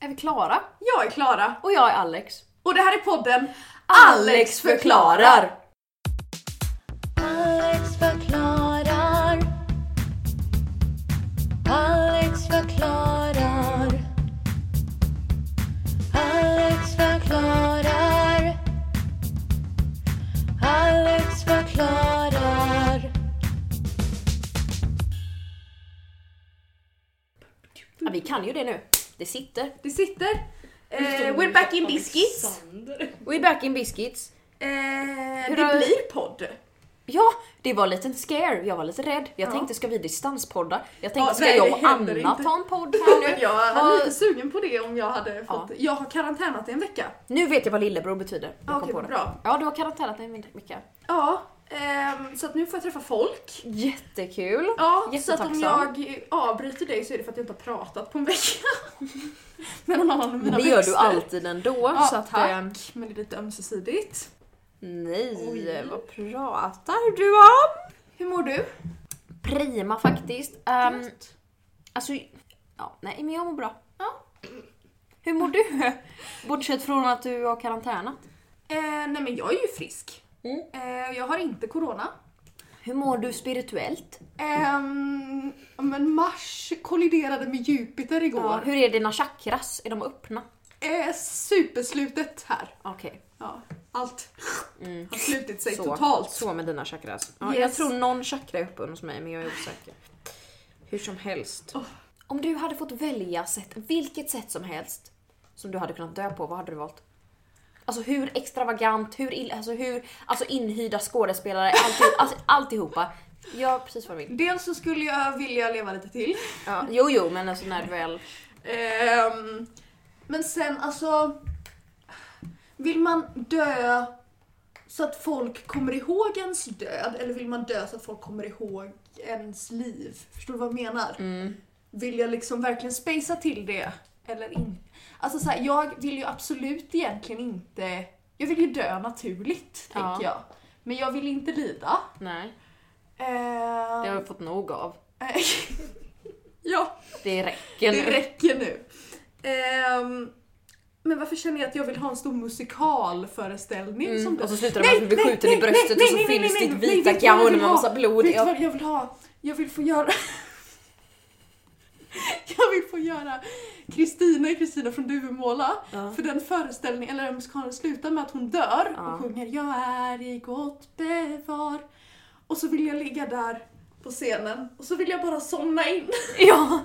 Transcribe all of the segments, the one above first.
är vi klara? Jag är Klara Och jag är Alex. och det här är podden Alex förklarar! Alex förklarar. Alex förklarar. Alex förklarar. Alex förklarar. Ja, vi kan ju det nu. Det sitter. Det sitter. Eh, we're back in biscuits. We're back in biscuits. Eh, det Hur har- blir podd. Ja, det var en liten scare. Jag var lite rädd. Jag Ja. tänkte, ska vi distanspodda? Jag tänkte, Ja, ska nej, jag det och händer Anna inte. ta en podd Ja, här men nu? jag var Vad- lite sugen på det om jag hade fått... Jag har karantänat i en vecka. Nu vet jag vad lillebror betyder. Jag Ja, kom Okej, på det. bra. Ja, du har karantänat dig Mika. Ja, ehm, så att nu får jag träffa folk. Jättekul. Ja, så att om Jättetacksam. jag avbryter dig så är det för att jag inte har pratat på en vecka. Med någon annan av mina Det gör du växter. alltid ändå. Ja, så att, tack. eh, Men det är lite ömsesidigt. Nej, Oj. vad pratar du om? Hur mår du? Prima faktiskt. Ehm, Gött. alltså, ja, nej men jag mår bra. Ja. Hur mår du? Bortsett från att du har karantänat. Eh, nej men jag är ju frisk. Mm. Eh, jag har inte corona. Hur mår du spirituellt? Ehm, men Mars kolliderade med Jupiter igår. Hur är dina chakras? Är de öppna? Eh, superslutet här. Okej. Ja, allt har slutit sig Så, totalt. så med dina chakras. Ja, Yes. Jag tror någon chakra är öppen hos mig men jag är osäker. Hur som helst. Oh. Om du hade fått välja sätt, vilket sätt som helst som du hade kunnat dö på, vad hade du valt? Alltså hur extravagant, hur, ill, alltså, hur alltså inhyrda skådespelare, alltihop, alltså, alltihopa. Ja, precis vad du vill. Dels så skulle jag vilja leva lite till. Ja, jo, jo, men alltså när du väl... Ehm, men sen alltså... Vill man dö så att folk kommer ihåg ens död eller vill man dö så att folk kommer ihåg ens liv? Förstår du vad jag menar? Mm. Vill jag liksom verkligen spacea till det eller inte? Alltså så här, jag vill ju absolut egentligen inte... Jag vill ju dö naturligt, Ja. tänker jag. Men jag vill inte lida. Nej, Ehm, det har jag fått nog av. Eh, ja, Det räcker nu. det räcker nu. Ehm, men varför känner jag att jag vill ha en stor musikalföreställning som Mm. det? Och så slutar det Nej, med att du blir nej, skjuten i nej, bröstet nej, och så nej, nej, fylls nej, ditt nej, vita vet du vad jag gown vill med ha? massa blod. Vet du Ja. vad jag vill ha? Jag vill få göra... jag vill få göra Kristina i Kristina från Duvemåla. Ja. För den föreställningen, eller den musikalen slutar med att hon dör Ja. och sjunger Jag är i gott bevar. Och så vill jag ligga där på scenen och så vill jag bara somna in. ja,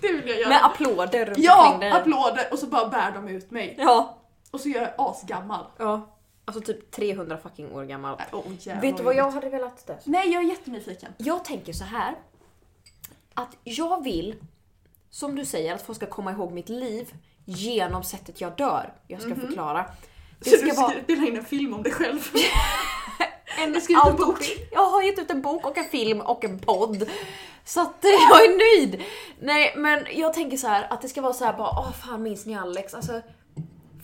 Det vill jag göra. med applåder runt Ja, omkring dig. applåder och så bara bär de ut mig. Ja. Och så gör jag asgammal. Ja. Alltså typ 300 fucking år gammal. Äh, Oh, jävlar Vet du vad jag jobbigt. hade velat dö som? Nej, jag är jättenyfiken. Jag tänker så här. Att jag vill, som du säger, att folk ska komma ihåg mitt liv genom sättet jag dör. Jag ska förklara. Det Så du Mhm. ska ska vara spela in en film om dig själv? en du skrivit en autobi- bok? Jag har gett ut en bok och en film och en podd. Så att eh, jag är nöjd. Nej men jag tänker så här att det ska vara så här bara åh fan minns ni Alex? Alltså,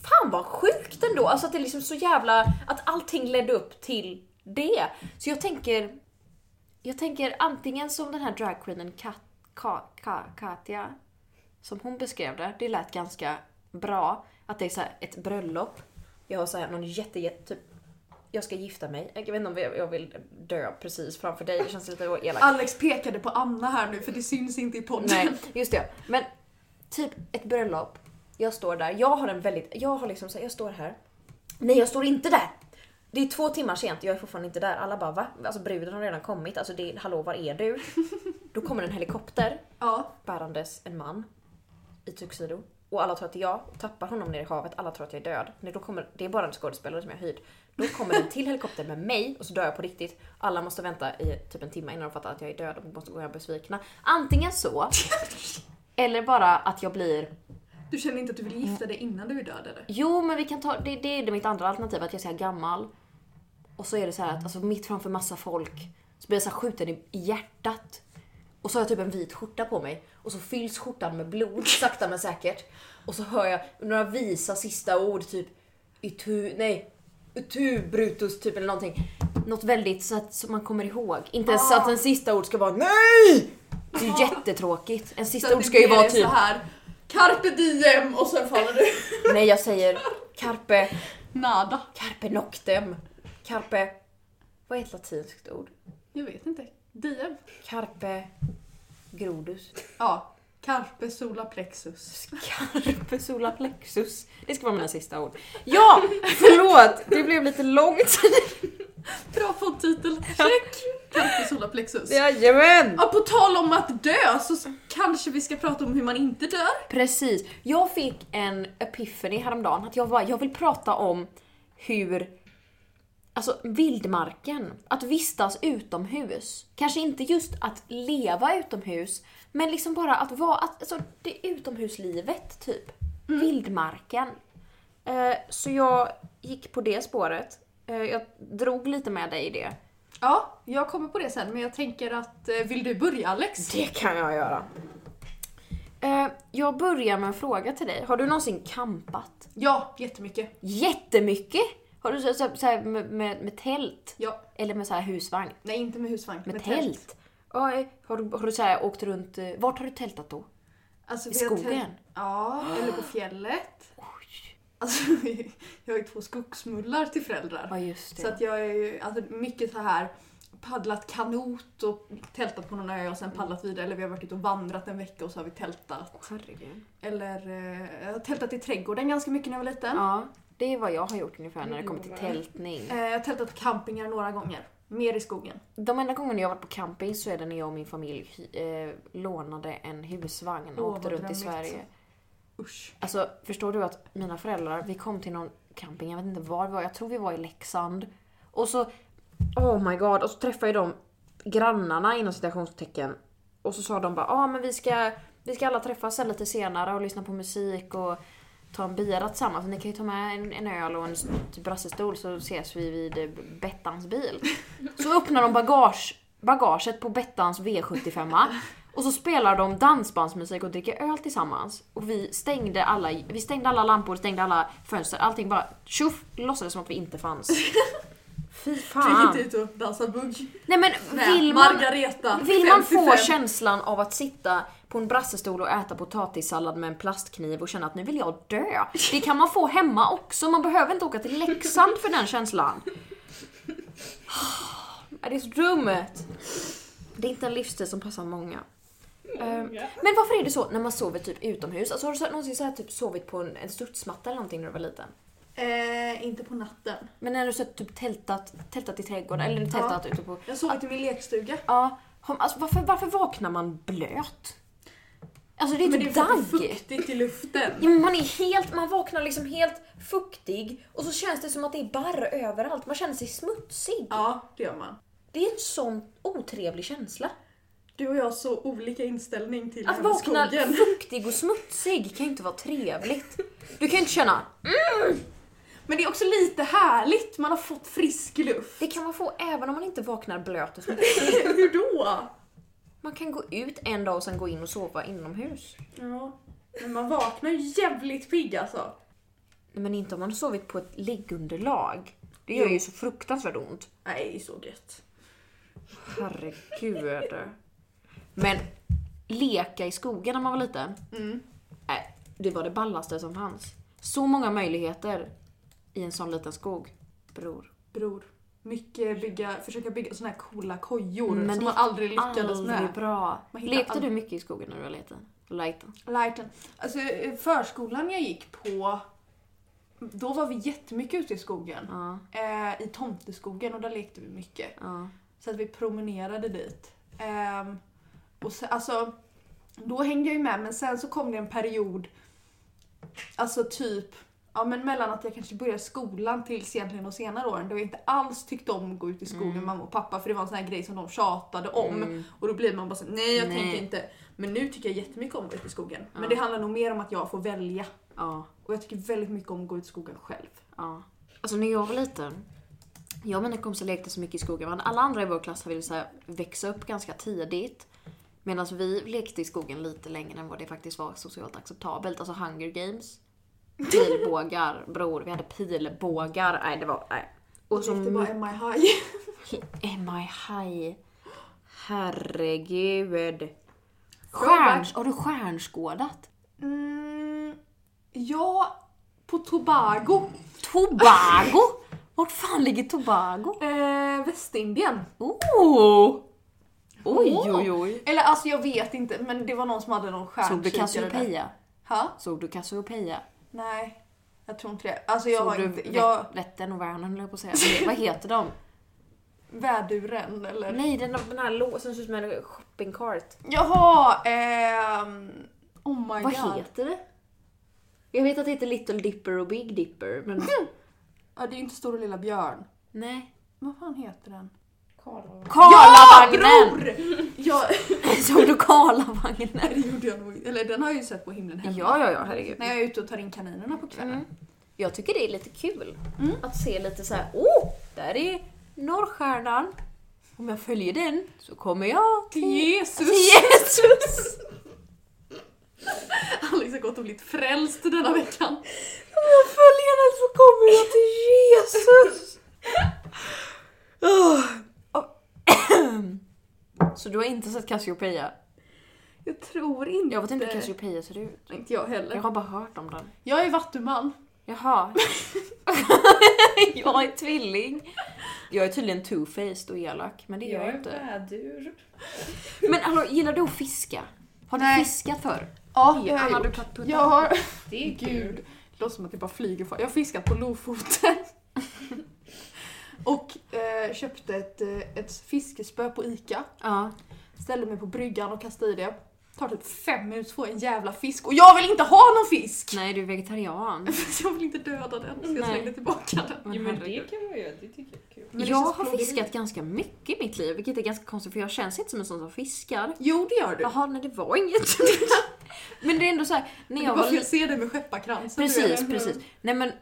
fan vad sjukt ändå. Alltså att det är liksom så jävla, att allting ledde upp till det. Så jag tänker, jag tänker antingen som den här dragqueenen Kat, Ka, Ka, Katja, som hon beskrev det, det lät ganska bra. Att det är så här ett bröllop. Jag har så här någon jätte, jätte typ, jag ska gifta mig. Jag vet inte om jag jag vill dö precis framför dig, det känns lite elakt. Alex pekade på Anna här nu för det syns inte i podden. Nej, just det. Men typ ett bröllop. Jag står där. Jag har en väldigt... Jag har liksom så här, jag står här. Nej, jag står inte där! Det är två timmar sent, jag är fortfarande inte där. Alla bara va? Alltså bruden har redan kommit. Alltså det, är- hallå var är du? Då kommer en helikopter Ja. bärandes en man i tuxedo. Och alla tror att det är jag, tappar honom ner i havet, alla tror att jag är död. Nej, då kommer, det är bara en skådespelare som jag har hyrt. Då kommer en till helikopter med mig och så dör jag på riktigt. Alla måste vänta i typ en timme innan de fattar att jag är död och måste gå hem besvikna. Antingen så, eller bara att jag blir Du känner inte att du vill gifta dig innan du är död eller? Jo, men vi kan ta, det, det är det mitt andra alternativ, att jag är så här gammal. Och så är det så här att alltså, mitt framför massa folk så blir jag så här skjuten i, i hjärtat. Och så har jag typ en vit skjorta på mig och så fylls skjortan med blod sakta men säkert. Och så hör jag några visa sista ord typ itu, nej, itu brutus typ eller någonting. Något väldigt så att så man kommer ihåg. Inte ens Ah. att en sista ord ska vara NEJ! Det är ju jättetråkigt. En Så sista att ord det ska ju blir vara så typ här. Carpe diem och sen faller du. Nej, jag säger carpe, Nada. carpe noctem. Carpe... Vad är ett latinskt ord? Jag vet inte. Diem? Carpe grodus. Ja. Carpe sola plexus. Carpe sola plexus. Det ska vara mina sista ord. Ja, förlåt! Det blev lite långt. Bra poddtitel. Check! Carpe sola plexus. Jajamän! Ja, på tal om att dö så s- kanske vi ska prata om hur man inte dör. Precis. Jag fick en epiphany häromdagen att jag, bara, jag vill prata om hur Alltså vildmarken, att vistas utomhus. Kanske inte just att leva utomhus, men liksom bara att vara, att, alltså det är utomhuslivet typ. Vildmarken. Eh, så jag gick på det spåret. Eh, jag drog lite med dig i det. Ja, jag kommer på det sen men jag tänker att eh, vill du börja Alex? Det kan jag göra. Eh, jag börjar med en fråga till dig. Har du någonsin kampat? Ja, jättemycket. Jättemycket! Har du så, så, så här med, med, med tält? Ja. Eller med så här husvagn? Nej, inte med husvagn. Med, tält? Ja, eh, har du, har du så här åkt runt... eh, Vart har du tältat då? Alltså, I vi har tält- skogen? Ja, eller på fjället. Oj! Alltså, jag har ju två skogsmullar till föräldrar. Ja, just det. Så att jag är ju alltså, mycket så här paddlat kanot och tältat på någon ö och sen Mm. paddlat vidare. Eller vi har varit ute och vandrat en vecka och så har vi tältat. Herregud. Eller eh, jag har tältat i trädgården ganska mycket när jag var liten. Ja, det är vad jag har gjort ungefär när det kommer till Mm. tältning. Eh, jag har tältat på campingar några gånger. Mer i skogen. De enda gångerna jag har varit på camping så är det när jag och min familj eh, lånade en husvagn och Åh, åkte vad runt i drömmigt. Sverige. Usch. Alltså förstår du att mina föräldrar, vi kom till någon camping, jag vet inte var vi var, jag tror vi var i Leksand. Och så, oh my god, och så träffade jag de grannarna inom citationstecken. Och så sa de bara, ja ah, men vi ska, vi ska alla träffas sen lite senare och lyssna på musik och ta en bira tillsammans. Ni kan ju ta med en, en öl och en s- typ brassestol så ses vi vid eh, Bettans bil. Så öppnar de bagage, bagaget på Bettans V75 och så spelar de dansbandsmusik och dricker öl tillsammans. Och vi stängde alla, vi stängde alla lampor, stängde alla fönster, allting bara tjoff, låtsades som att vi inte fanns. Fy Gick fan. inte ut och dansade bugg. Nej men Nej, vill Ah. man, Margareta. vill man få 55. känslan av att sitta på en brassestol och äta potatissallad med en plastkniv och känna att nu vill jag dö. Det kan man få hemma också, man behöver inte åka till Leksand för den känslan. Är det är så dumt. Det är inte en livsstil som passar många. Ehm, Men varför är det så när man sover typ utomhus? Alltså har du så- någonsin så här typ sovit på en, en studsmatta eller någonting när du var liten? Eh, inte på natten. Men när du så här typ tältat, tältat i trädgården eller tältat ute på... Jag sov i min lekstuga. Ja, hon- alltså varför, varför vaknar man blöt? Alltså det är Men typ det är dagg. fuktigt i luften. Ja, men man är helt, man vaknar liksom helt fuktig och så känns det som att det är barr överallt. Man känner sig smutsig. Ja, det gör man. Det är en sån otrevlig känsla. Du och jag har så olika inställning till Att det här med vakna skogen. fuktig och smutsig kan ju inte vara trevligt. Du kan ju inte känna, Men det är också lite härligt, man har fått frisk luft. det kan man få även om man inte vaknar blöt och smutsig. Hur då? Man kan gå ut en dag och sen gå in och sova inomhus. Ja. Men man vaknar ju jävligt pigg alltså. Nej, Men inte om man har sovit på ett liggunderlag. Det gör ju så fruktansvärt ont. Nej, det är så gött. Herregud. Men leka i skogen när man var liten. Mm. Äh, det var det ballaste som fanns. Så många möjligheter i en sån liten skog. Bror. Bror, mycket bygga, försöka bygga såna här coola kojor Men som det man aldrig lyckades Aldrig med. bra. Man hittar Lekte aldrig- du mycket i skogen när du var liten? Liten. Lighten. Alltså förskolan jag gick på, då var vi jättemycket ute i skogen. Ja, Eh, I tomteskogen och där lekte vi mycket. ja. Så att vi promenerade dit. Ehm, och sen, alltså, då hängde jag ju med men sen så kom det en period, alltså typ Ja men mellan att jag kanske började skolan tills egentligen de senare åren då jag inte alls tyckte om att gå ut i skogen med mamma och pappa för det var en sån här grej som de tjatade om. Mm. Och då blir man bara såhär, nej jag Nej. tänker inte. Men nu tycker jag jättemycket om att gå ut i skogen. Ja. Men det handlar nog mer om att jag får välja. ja. Och jag tycker väldigt mycket om att gå ut i skogen själv. Ja. Alltså när jag var liten, jag och mina kompisar lekte så mycket i skogen. Men alla andra i vår klass ville så här växa upp ganska tidigt. Medan vi lekte i skogen lite längre än vad det faktiskt var socialt acceptabelt. Alltså hunger games. Pilbågar, bror. Vi hade pilbågar. Nej, det var... Nej. Och så det var Emma High. Am I high? Herregud. Throwback. Stjärns, har du stjärnskådat? Mm, Ja, på Tobago. Tobago? Vart fan ligger Tobago? Eh, Västindien. Oh! Oj, oj, oj. Eller alltså jag vet inte, men det var någon som hade någon Såg du stjärnkikare där. Cassiopeia? Ha? Såg du Cassiopeia? Nej, jag tror inte det. Alltså jag har Såg du inte... Jag, Vättern och Vänern höll jag på att säga. Men Vad heter de? väduren eller? Nej, den, den här låsen som ser ut som en shoppingcart. Jaha! ehm... oh my Vad god. heter det? Jag vet att det heter Little Dipper och Big Dipper, men... Ja, det är ju inte Stora Lilla Björn. Nej. Vad fan heter den? Karlavagnen! Bror! Ja, Såg du Karlavagnen? nej, det gjorde jag nog inte. Eller den har jag ju sett på himlen hemma. Ja, ja, ja, herregud. När jag är ute och tar in kaninerna på kvällen. Mm. Jag tycker det är lite kul att se lite så här. åh, där är Norrstjärnan. Om jag följer den så kommer jag till Jesus! Jesus! Alex har gått och blivit frälst denna veckan. Om jag följer den så kommer jag till Jesus! så du har inte sett Cassiopeia? Jag tror inte... Jag vet inte hur Cassiopeia ser ut. Inte jag Jag heller. har bara hört om den. Jag är vattuman. Jaha. jag är tvilling. Jag är tydligen two-faced och elak, men det är jag, inte. vädur. Men hallå, gillar du att fiska? Har du Nej. fiskat förr? Ja, jag Anna, har du gjort. putt- puttar. Jag har... Det är Gud, det låter som att det bara flyger fram. Jag har fiskat på Lofoten. och eh, köpte ett, eh, ett fiskespö på Ica. Ja. Ställde mig på bryggan och kastade i det. Tar typ fem minuter få en jävla fisk. Och jag vill inte ha någon fisk! Nej, du är vegetarian. jag vill inte döda den så jag Nej. slängde tillbaka den. Jo men det herregud. kan man göra, det tycker jag är kul. Men det jag känns har plågeri. fiskat ganska mycket i mitt liv, vilket är ganska konstigt för jag känns inte som en sån som fiskar. Jo, det gör du. Jaha, nej det var inget. men det är ändå så här, när det jag var var för jag liten... ser dig med skepparkransen. Precis, du vet. precis. Nej men,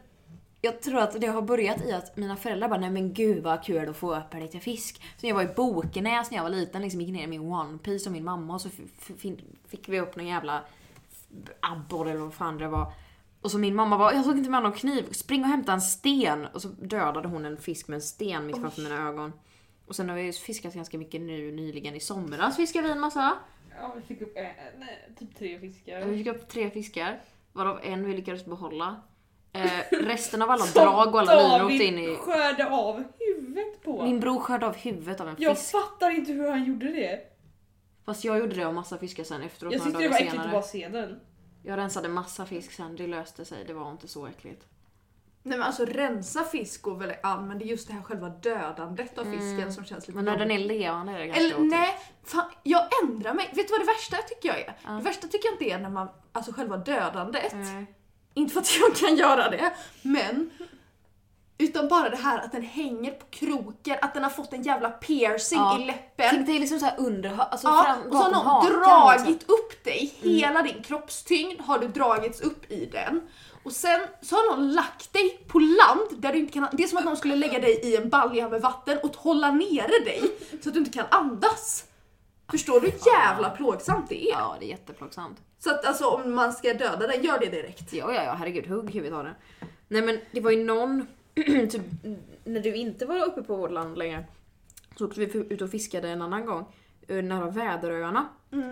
jag tror att det har börjat i att mina föräldrar bara, nej men gud vad kul att få öppna lite fisk. Så jag var i Bokenäs när jag var liten, liksom gick ner i min One Piece och min mamma och så f- f- fin- fick vi upp någon jävla abborre eller vad fan det var. Och så min mamma bara, jag såg inte med någon kniv, spring och hämta en sten. Och så dödade hon en fisk med en sten mitt framför mina ögon. Och sen har vi ju fiskat ganska mycket nu nyligen i somras fiskade vi en massa. Ja, vi fick upp en, nej, typ tre Vi fiskar. fick upp tre fiskar, varav en vi lyckades behålla. Eh, resten av alla drag och alla linor åkte in i... skörde av huvudet på. Min bror skörde av huvudet av en jag fisk. fattar inte hur han gjorde det. Fast jag gjorde det och massa fiskar sen efteråt Jag några tyckte det dagar var äckligt att bara senare. se den. Jag rensade massa fisk sen, det löste sig. Det var inte så äckligt. Nej men alltså rensa fisk går väl an, men det är just det här själva dödandet av fisken som känns lite Men när den jobbigt. är levande är det ganska Eller otäckt. nej, fan, jag ändrar mig. Vet du vad det värsta tycker jag är? Det värsta tycker jag inte är när man, alltså själva dödandet. Nej. Inte för att jag kan göra det, men. Utan bara det här att den hänger på kroken, att den har fått en jävla piercing Ja. i läppen. Tänk dig liksom såhär under hö- alltså Ja, fram, och så bakom har någon hakan liksom. Mm. dragit upp dig, hela din kroppstyngd har du dragits upp i den. Och sen så har någon lagt dig på land där du inte kan, det är som att någon skulle lägga dig i en balja med vatten och hålla nere dig så att du inte kan andas. Förstår du hur jävla plågsamt det är? Ja, det är jätteplågsamt. Så att alltså om man ska döda den, gör det direkt. Ja, ja, ja, herregud, hugg huvudet av den. Nej men det var ju någon, typ, när du inte var uppe på vårt land längre, så åkte vi f- ut och fiskade en annan gång, eh, nära Väderöarna. Mm.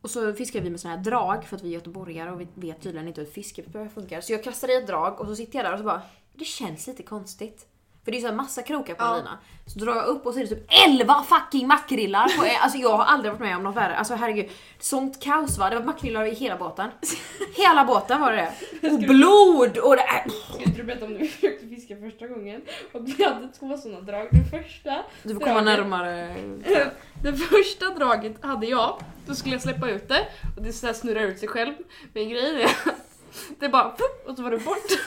Och så fiskade vi med såna här drag, för att vi är göteborgare och vi vet tydligen inte hur ett fiskespö funkar. Så jag kastade i ett drag och så sitter jag där och så bara, det känns lite konstigt. För det är ju så här massa krokar på en Ja. lina. Så drar jag upp och så är det typ 11 fucking makrillar på en. Alltså jag har aldrig varit med om något värre. Alltså herregud. Sånt kaos va. Det var makrillar i hela båten. Hela båten var det det. Och blod och det Äh, är... Ska inte du berätta om när vi försökte fiska första gången? Och vi hade två sådana drag. Det första Du får komma närmare. Eh, Det första draget hade jag, då skulle jag släppa ut det och det så här snurrar ut sig själv. Men grejen är att det bara pop, och så var det bort.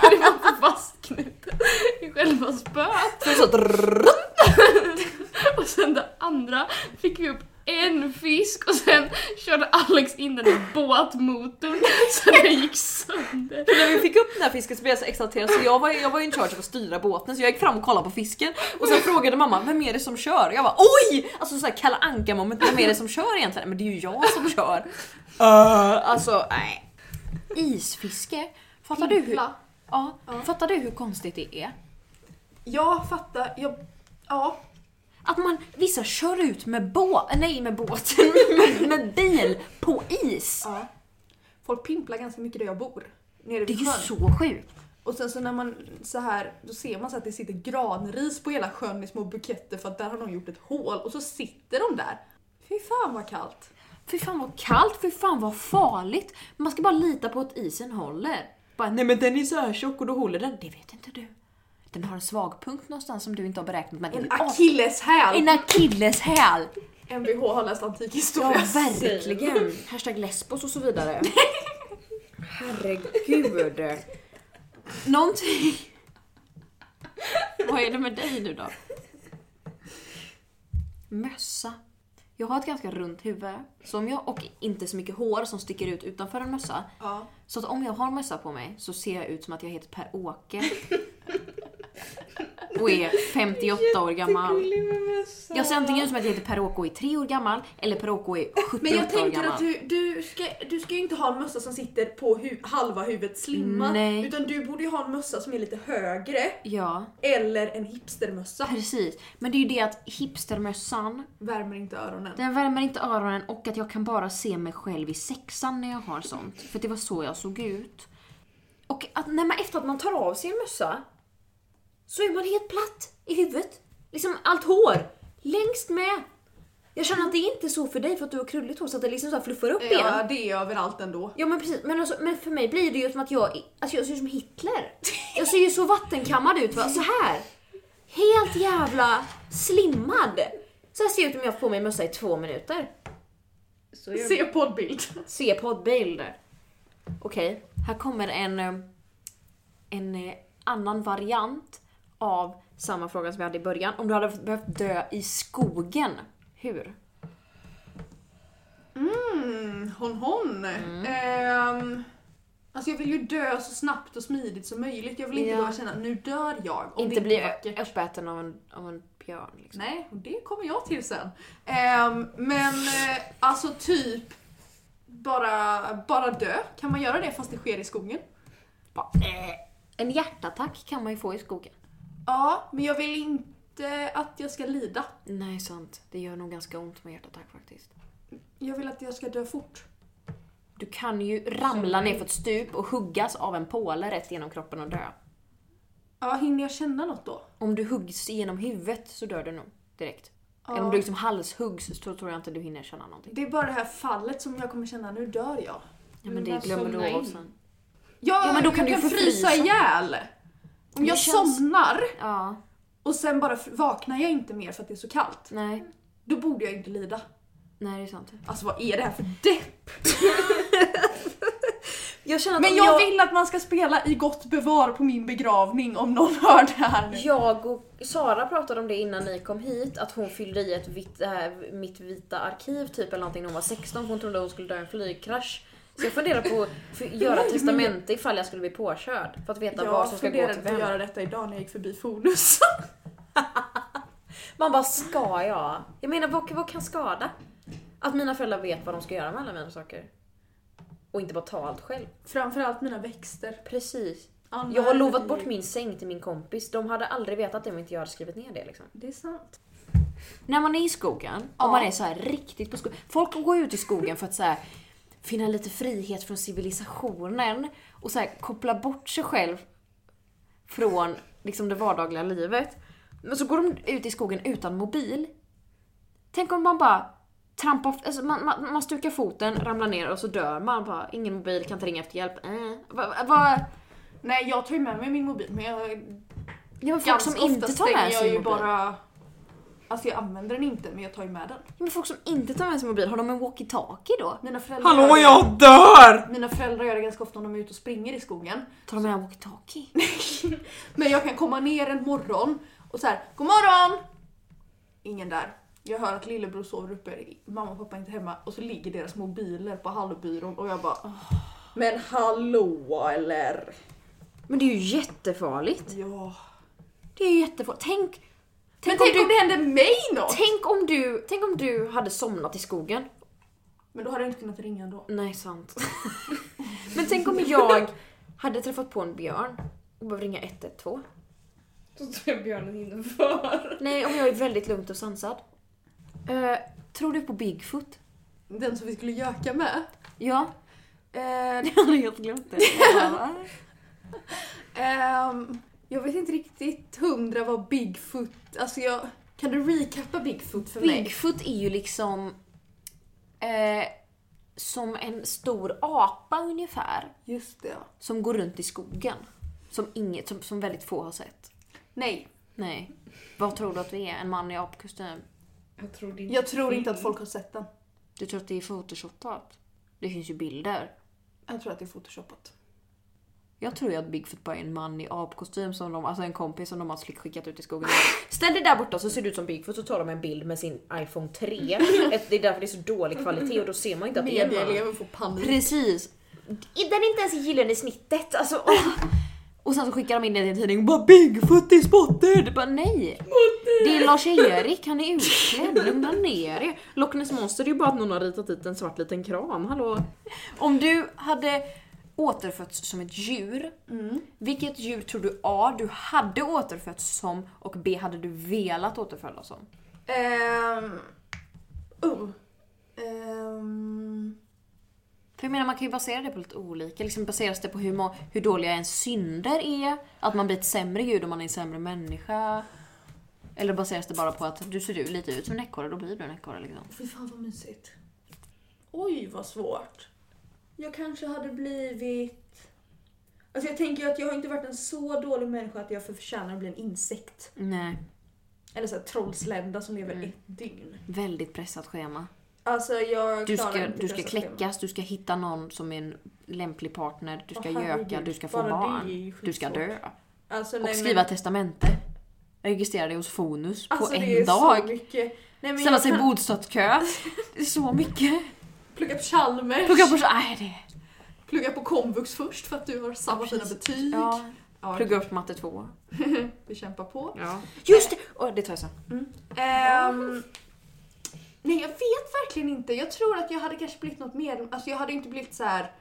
För det var inte fastknutet i själva spöet. Så, så, Och sen det andra fick vi upp en fisk och sen körde Alex in den i båtmotorn så den gick sönder. när vi fick upp den här fisken så blev jag så exalterad så jag var, jag var in charge av att styra båten så jag gick fram och kollade på fisken och sen frågade mamma vem är det som kör? Jag bara oj! Alltså såhär Kalle Anka moment, vem är det som kör egentligen? Men det är ju jag som kör. Uh, alltså nej. Isfiske. Fattar du, hur, Pimpla. ja, fattar du hur konstigt det är? Jag fattar, jag... Ja. Att man, vissa kör ut med båt, nej med båten, med, med bil på is. ja. Folk pimplar ganska mycket där jag bor. nere Det är vid ju sjön. så sjukt. Och sen så när man så här, då ser man så att det sitter granris på hela sjön i små buketter för att där har någon gjort ett hål och så sitter de där. Fy fan vad kallt. Fy fan vad kallt, fy fan vad farligt. Man ska bara lita på att isen håller. Bara, nej men den är så här tjock och då håller den. Det vet inte du. Den har en svag punkt någonstans som du inte har beräknat. Men En den är akilleshäl! En akilleshäl! Mvh har läst antik Ja, historia. verkligen. Hashtag lesbos och så vidare. Herregud. Någonting... Vad är det med dig nu då? Mössa. Jag har ett ganska runt huvud. Så om jag, och inte så mycket hår som sticker ut utanför en mössa. Ja. Så att om jag har mössa på mig så ser jag ut som att jag heter Per-Åke. Och är 58 år gammal. Jättegullig med mössa. Jag ser antingen ut som att jag heter Per-Åke och är tre år gammal eller Per-Åke och är 78 Men jag år tänker gammal. att du, du, ska, du ska ju inte ha en mössa som sitter på hu- halva huvudet slimmad. Nej. Utan du borde ju ha en mössa som är lite högre. Ja, Eller en hipstermössa. precis. Men det är ju det att hipstermössan, Värmer inte öronen. den värmer inte öronen och att jag kan bara se mig själv i sexan när jag har sånt. För det var så jag såg ut. Och att när man, efter att man tar av sig en mössa så är man helt platt i huvudet. Liksom allt hår, längst med. Jag känner att det är inte så för dig för att du har krulligt hår så att det liksom så här fluffar upp igen. Ja, det är överallt ändå. Ja men precis, men, alltså, men för mig blir det ju som att jag, alltså jag ser ut som Hitler. Jag ser ju så vattenkammad ut va, så här. Helt jävla slimmad. Så här ser jag ut om jag får på mig mössa i två minuter. Så gör Se poddbild. Se poddbild. Okej, här kommer en, eh, en eh, annan variant av samma fråga som vi hade i början. Om du hade behövt dö i skogen, hur? Mm, hon hon. Mm. Ehm, alltså jag vill ju dö så snabbt och smidigt som möjligt. Jag vill inte Ja. bara känna nu dör jag. Om inte det bli är vackert. uppäten av en, av en björn. Liksom. Nej, och det kommer jag till sen. Ehm, men eh, alltså typ bara, bara dö. Kan man göra det fast det sker i skogen? Bara, eh. En hjärtattack kan man ju få i skogen. Ja, men jag vill inte att jag ska lida. Nej, sant. Det gör nog ganska ont med hjärtattack faktiskt. Jag vill att jag ska dö fort. Du kan ju ramla ner för ett stup och huggas av en påle rätt genom kroppen och dö. Ja, hinner jag känna något då? Om du huggs genom huvudet så dör du nog direkt. Eller om Ja. du liksom halshuggs så tror jag inte du hinner känna någonting. Det är bara det här fallet som jag kommer känna, nu dör jag. Ja, men Men det bara glömmer du somna av in. sen. Ja, men då jag kan du ju kan få frysa frysa. ihjäl! Om Det jag känns- somnar Ja, och sen bara f- vaknar jag inte mer för att det är så kallt, nej. då borde jag inte lida. Nej, det är sant. Alltså vad är det här för depp? Jag känner Men jag vill att man ska spela i gott bevar på min begravning om någon hör det här nu. Jag och Sara pratade om det innan ni kom hit, att hon fyllde i ett vitt, det här, mitt vita arkiv typ eller någonting när hon var 16 för hon trodde hon skulle dö i en flygkrasch. Så jag funderar på att f- göra ett testamente ifall jag skulle bli påkörd. För att veta vad som Jag ska gå funderade till på att vem. göra detta idag när jag gick förbi Fonus. Man bara, ska jag? Jag menar vad, vad kan skada? Att mina föräldrar vet vad de ska göra med alla mina saker. Och inte bara ta allt själv. Framförallt mina växter. Precis. Anna Jag har är- lovat bort min säng till min kompis. De hade aldrig vetat det om inte jag hade skrivit ner det liksom. Det är sant. När man är i skogen, Ja. om man är så här riktigt på skogen. Folk går ut i skogen för att så här, finna lite frihet från civilisationen och så här, koppla bort sig själv från liksom, det vardagliga livet. Men så går de ut i skogen utan mobil. Tänk om man bara trampar, alltså man, man, man stukar foten, ramlar ner och så dör man. Bara, ingen mobil, kan inte ringa efter hjälp. Äh. Va, va, va, Nej, jag tar ju med mig min mobil men jag... ja, men folk Ganska som inte ofta tar med stänger jag sig ju mobil. bara... Alltså jag använder den inte men jag tar ju med den. Ja, men folk som inte tar med sig mobil, har de en walkie-talkie då? Mina föräldrar Hallå, jag dör! Mina föräldrar gör det ganska ofta om de är ute och springer i skogen. Tar de med en walkie-talkie? Men jag kan komma ner en morgon och så här, God morgon! Ingen där. Jag hör att lillebror sover uppe, mamma och pappa är inte hemma och så ligger deras mobiler på hallbyrån och jag bara "Ah, Men hallå eller? Men det är ju jättefarligt. Ja. Det är ju jättefarligt. Tänk, Men tänk, tänk om om du, det händer mig något! tänk, om du, tänk om du hade somnat i skogen. Men då hade jag inte kunnat ringa ändå. Nej, sant. Men tänk om jag hade träffat på en björn och behövde ringa 112. Så tror jag björnen hinner före. Nej, om jag är väldigt lugnt och sansad. Eh, tror du på Bigfoot? Den som vi skulle göka med. Ja. Eh, Jag hade helt glömt det. ehm, jag vet inte riktigt hundra vad Bigfoot... Alltså jag... Kan du recappa Bigfoot för mig? Bigfoot är ju liksom eh, som en stor apa ungefär. Just det. Som går runt i skogen. Som, inget, som, som väldigt få har sett. Nej, Nej. Vad tror du att vi är? En man i apkostym? Jag tror det är jag tror inte att folk har sett den. Du tror att det är photoshopat? Det finns ju bilder. Jag tror att det är photoshopat. Jag tror ju att Bigfoot bara är en man i apkostym som de, alltså en kompis som de har slick- skickat ut i skogen. Ställ dig där borta så ser du ut som Bigfoot så tar de en bild med sin iPhone 3. Ett- Det är därför det är så dålig kvalitet och då ser man inte att det är en man. Mediaelever får panik. Precis. Den är inte ens i gyllene snittet. Alltså, åh. Och sen så skickar de in det i en tidning och bara “Bigfoot is spotted!” bara nej. Det är Lars-Erik, han är utklädd. Lugna ner er. Loch Ness Monster är ju bara att någon har ritat dit en svart liten kran, hallå? Om du hade återfötts som ett djur, vilket djur tror du A. du hade återfötts som och B. hade du velat återfödas som? Ehm... oh. Ehm, För jag menar man kan ju basera det på lite olika. Liksom baseras det på hur, må- hur dåliga ens synder är? Att man blir ett sämre gud om man är en sämre människa? Eller baseras det bara på att du ser ju lite ut som en ekorre, då blir du en ekorre liksom? fy fan vad mysigt. Oj vad svårt. Jag kanske hade blivit... Alltså jag tänker ju att jag har inte varit en så dålig människa att jag för- förtjänar att bli en insekt. Nej. Eller såhär trollslända som lever Mm. ett dygn. Väldigt pressat schema. Alltså jag Du klarar ska, inte du ska dessa schema. kläckas, du ska hitta någon som är en lämplig partner, du ska Åh, herregud, göka, du ska få bara det är barn, ju du ska skitsvårt. dö. Alltså, Och nej, skriva men, testamente. Registrera dig hos Fonus alltså, på det en är Så dag. mycket. Nej, men Ställa jag sig i kan bostadskö. Det är så mycket. plugga på Chalmers. Plugga på... Nej, det plugga på komvux först för att du har samma fina precis. betyg. Ja, Ja, plugga upp matte 2. vi kämpar på. Ja. Just det! Åh, det tar jag sen. Ehm, nej, jag vet verkligen inte. Jag tror att jag hade kanske blivit något mer. Alltså jag hade inte blivit så här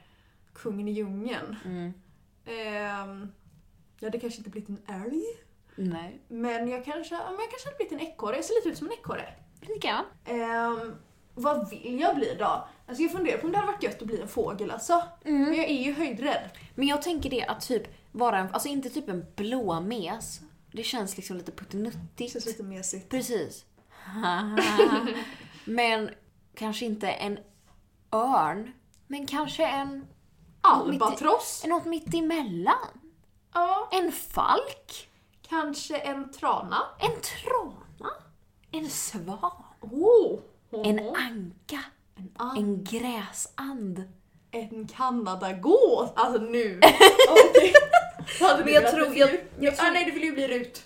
kungen i djungeln. Mm. Ehm, jag hade kanske inte blivit en älg. Nej. Men jag kanske, ja, men jag kanske hade blivit en ekorre. Jag ser lite ut som en ekorre. Lika va? Ehm, vad vill jag bli då? Alltså jag funderar på om det hade varit gött att bli en fågel alltså. Men jag är ju höjdrädd. Men jag tänker det att typ vara en, alltså inte typ en blå mes. Det känns liksom lite Det känns puttinuttigt. lite mesigt. Precis. Men kanske inte en örn. Men kanske en, Albatross? något mitt emellan. Ja. En falk. Kanske en trana? En trana. En svan. Oh. En anka. an- En gräsand. En kanadagås! Alltså nu! Hade Men du jag velat tror- bli jag- djur? jag tror- ah, nej, du vill ju bli Rut.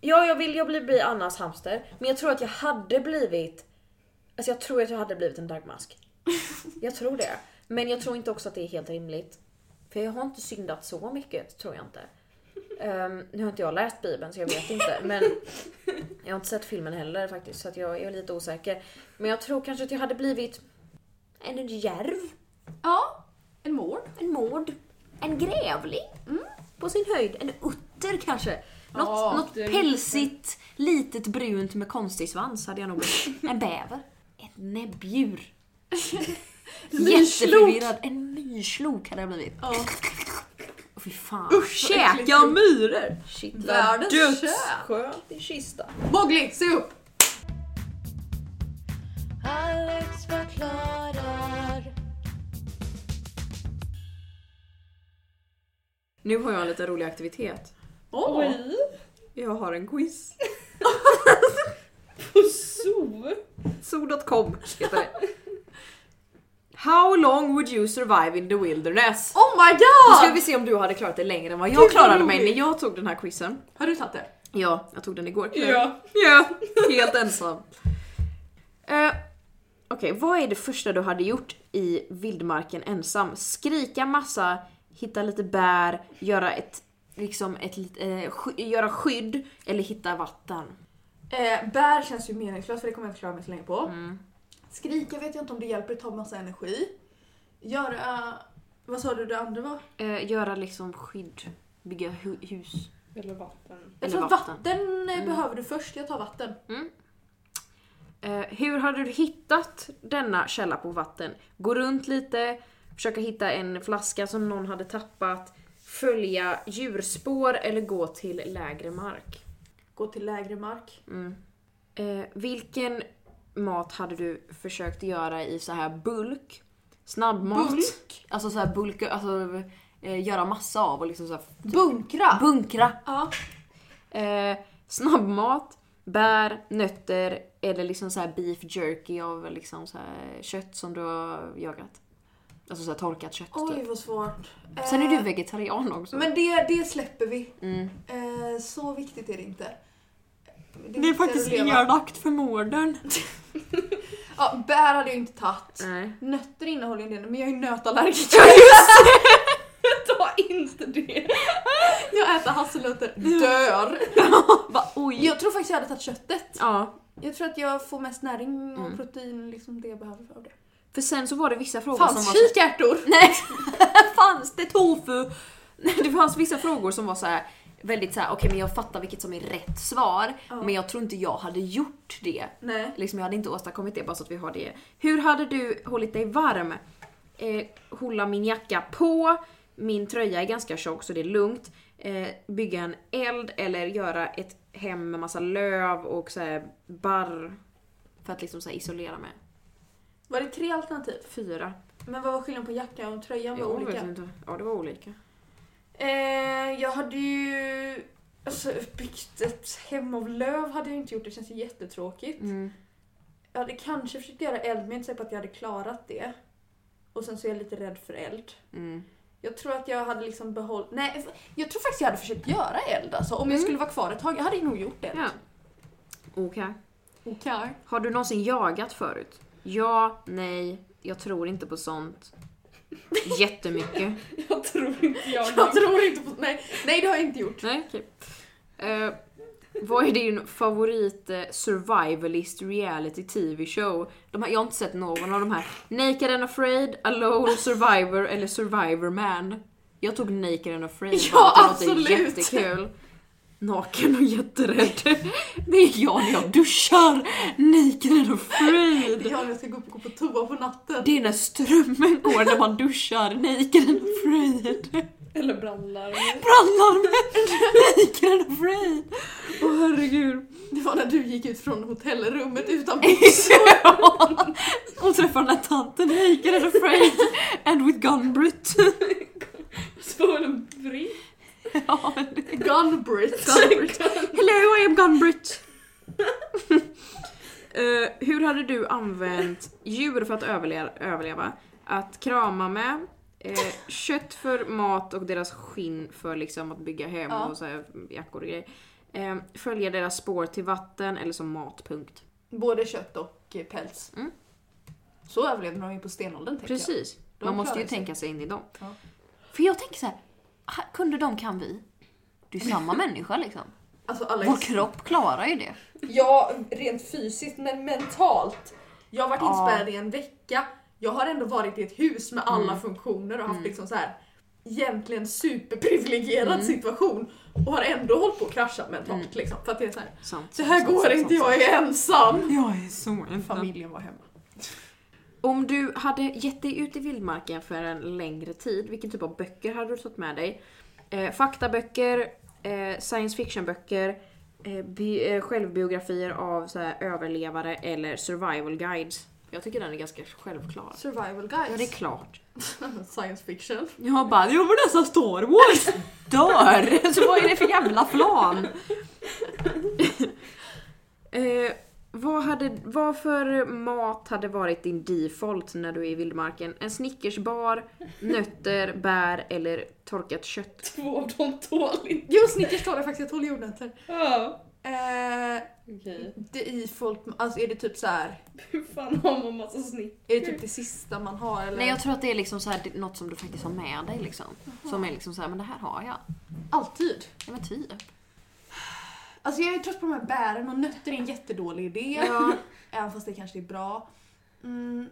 Ja, jag vill jag bli, bli Annas hamster. Men jag tror att jag hade blivit... Alltså jag tror att jag hade blivit en dagmask. Jag tror det. Men jag tror inte också att det är helt rimligt. För jag har inte syndat så mycket, tror jag inte. Ehm, nu har inte jag läst bibeln så jag vet inte. Men jag har inte sett filmen heller faktiskt så att jag är lite osäker. Men jag tror kanske att jag hade blivit en järv, Ja, en mård. en mård, en grävling. Mm. På sin höjd. En utter kanske. Något, Ja, något det är pälsigt, litet brunt med konstig svans hade jag nog blivit. En bäver. Ett näbbdjur. Jätteförvirrad. En myrslok hade jag blivit. Ja. Åh fy fan. Usch, vad äckligt. Käka myror! Shit, vad Världens dödsskönt i kista. Mowgli, se upp! Alex förklarar. Nu har jag en lite rolig aktivitet. Åh. Oj! Jag har en quiz. På zoo? So.com heter det. How long would you survive in the wilderness? Oh my Nu ska god! vi se om du hade klarat det längre än vad Gud, jag vad klarade mig roligt. när jag tog den här quizen. Har du tagit det? Ja, jag tog den igår kväll. Ja. Ja, helt ensam. Eh, Okej, vad är det första du hade gjort i vildmarken ensam? Skrika massa, hitta lite bär, göra ett, liksom ett, lit- eh, sky, göra skydd eller hitta vatten. Eh, bär känns ju meningslöst för det kommer jag inte klara mig så länge på. Mm. Skrika vet jag inte om det hjälper, det tar massa energi. Göra... Vad sa du det andra var? Eh, göra liksom skydd, bygga hu- hus. Eller vatten. Jag Eller tror vatten. vatten, eh, behöver du först, jag tar vatten. Eh, hur hade du hittat denna källa på vatten? Gå runt lite, försöka hitta en flaska som någon hade tappat, följa djurspår eller gå till lägre mark. Gå till lägre mark. Mm. Eh, vilken mat hade du försökt göra i så här bulk? Snabbmat? Bulk. Alltså så här bulk, alltså eh, göra massa av och liksom så här, Bunkra! bunkra. Typ. Ja. Eh, snabbmat, bär, nötter eller liksom så här beef jerky av liksom så här kött som du har jagat. Alltså så här torkat kött Oj typ. vad svårt. Sen är du Eh, vegetarian också. Men det, det släpper vi. mm. Eh, så viktigt är det inte. Det är faktiskt viktigare att leva. elakt för morden. Ja, bär hade jag inte tagit. Nej. Nötter innehåller ju en del, men jag är nötallergiker. Ta inte det! Jag äter hasselnötter, dör! Va, oj. Jag tror faktiskt jag hade tagit köttet. Ja. Jag tror att jag får mest näring och Mm. protein, liksom det jag behöver av det. För sen så var det vissa frågor som Fanns var så... kikärtor? Nej! fanns det tofu? Nej, Det fanns vissa frågor som var så här väldigt så här, okej men jag fattar vilket som är rätt svar Ja. men jag tror inte jag hade gjort det. Nej. Liksom jag hade inte åstadkommit det bara så att vi har det. Hur hade du hållit dig varm? Eh, hålla min jacka på, min tröja är ganska tjock så det är lugnt. Eh, bygga en eld eller göra ett hem med massa löv och så här barr. För att liksom så här isolera mig. Var det tre alternativ? Fyra. Men vad var skillnaden på jackan och tröjan? Var Jag vet olika? inte. Ja det var olika. Eh, jag hade ju alltså, byggt ett hem av löv hade jag inte gjort, det känns ju jättetråkigt. Mm. Jag hade kanske försökt göra eld men jag är inte säker på att jag hade klarat det. Och sen så är jag lite rädd för eld. Mm. Jag tror att jag hade liksom behållit... Nej, jag tror faktiskt jag hade försökt göra eld alltså. Om jag Mm. skulle vara kvar ett tag. Jag hade nog gjort det. Ja. Okej. Okej. Har du någonsin jagat förut? Ja, nej, jag tror inte på sånt. Jättemycket. Jag tror inte jag. Jag tror inte på... Nej, nej det har jag inte gjort. nej, okej. Eh, vad är din favorit eh, survivalist reality TV show? De här, jag har inte sett någon av de här. Naked and afraid, Alone survivor eller survivor man. Jag tog Naked and afraid Ja, bara för att det låter absolut. jättekul. Naken och jätterädd. Det är jag när jag duschar. Naked and afraid. Jag när jag ska gå upp och gå på toa på natten. Det är när strömmen går när man duschar, naked and afraid. Eller brandlarm. Brandlarmet, naked and afraid. Åh herregud. Det var när du gick ut från hotellrummet utan Hon träffar den där tanten, naked and afraid. And with gunbrut. Så var det en britt. Ja, gunbrit. gunbrut. Hello I am gunbrut. Eh, hur hade du använt djur för att överle- överleva? Att krama med, eh, kött för mat och deras skinn för liksom att bygga hem Ja. och så här, jackor och grejer. Eh, följa deras spår till vatten eller som matpunkt. Både kött och eh, päls. Mm. Så överlevde de ju på stenåldern tänker Precis. De Man måste ju klarar sig. tänka sig in i dem. Ja. För jag tänker så här, ha- kunde de kan vi. Det är ju samma människa liksom. jag. Alltså Alex. Vår kropp klarar ju det. Ja, rent fysiskt men mentalt. Jag har varit Ja. inspärrad i en vecka. Jag har ändå varit i ett hus med alla Mm. funktioner och haft Mm. liksom så här egentligen superprivilegierad situation och har ändå hållit på att krascha mentalt Mm. liksom. För att det är så här, Sant, så här sant, går sant, inte, sant, jag är ensam. Jag är så ensam. Familjen var hemma. Om du hade gett dig ut i vildmarken för en längre tid, vilken typ av böcker hade du tagit med dig? Eh, faktaböcker, eh, science fiction-böcker, eh, bi- eh, självbiografier av så här, överlevare eller survival guides. Jag tycker den är ganska självklar. Survival Ja, det är guys. klart. Science fiction. Jag bara, jo men nästan Star Wars dör! Så vad är det för jävla plan? eh, vad, hade, vad för mat hade varit din default när du är i vildmarken? En Snickersbar, nötter, bär eller torkat kött? Två av dem tål inte. Jo, Snickers tål jag faktiskt, jag tål jordnötter. Ja. Eh, Okej. det är folk, alltså är det typ så här. Hur fan har man massa snitt? är det typ det sista man har eller? Nej jag tror att det är liksom så här, det- något som du faktiskt har med dig liksom. Som är liksom så här, men det här har jag. Alltid. Ja men typ. Alltså jag är trött på de här bären och nötter är en jättedålig idé. Ja. Även fast det kanske är bra. Mm,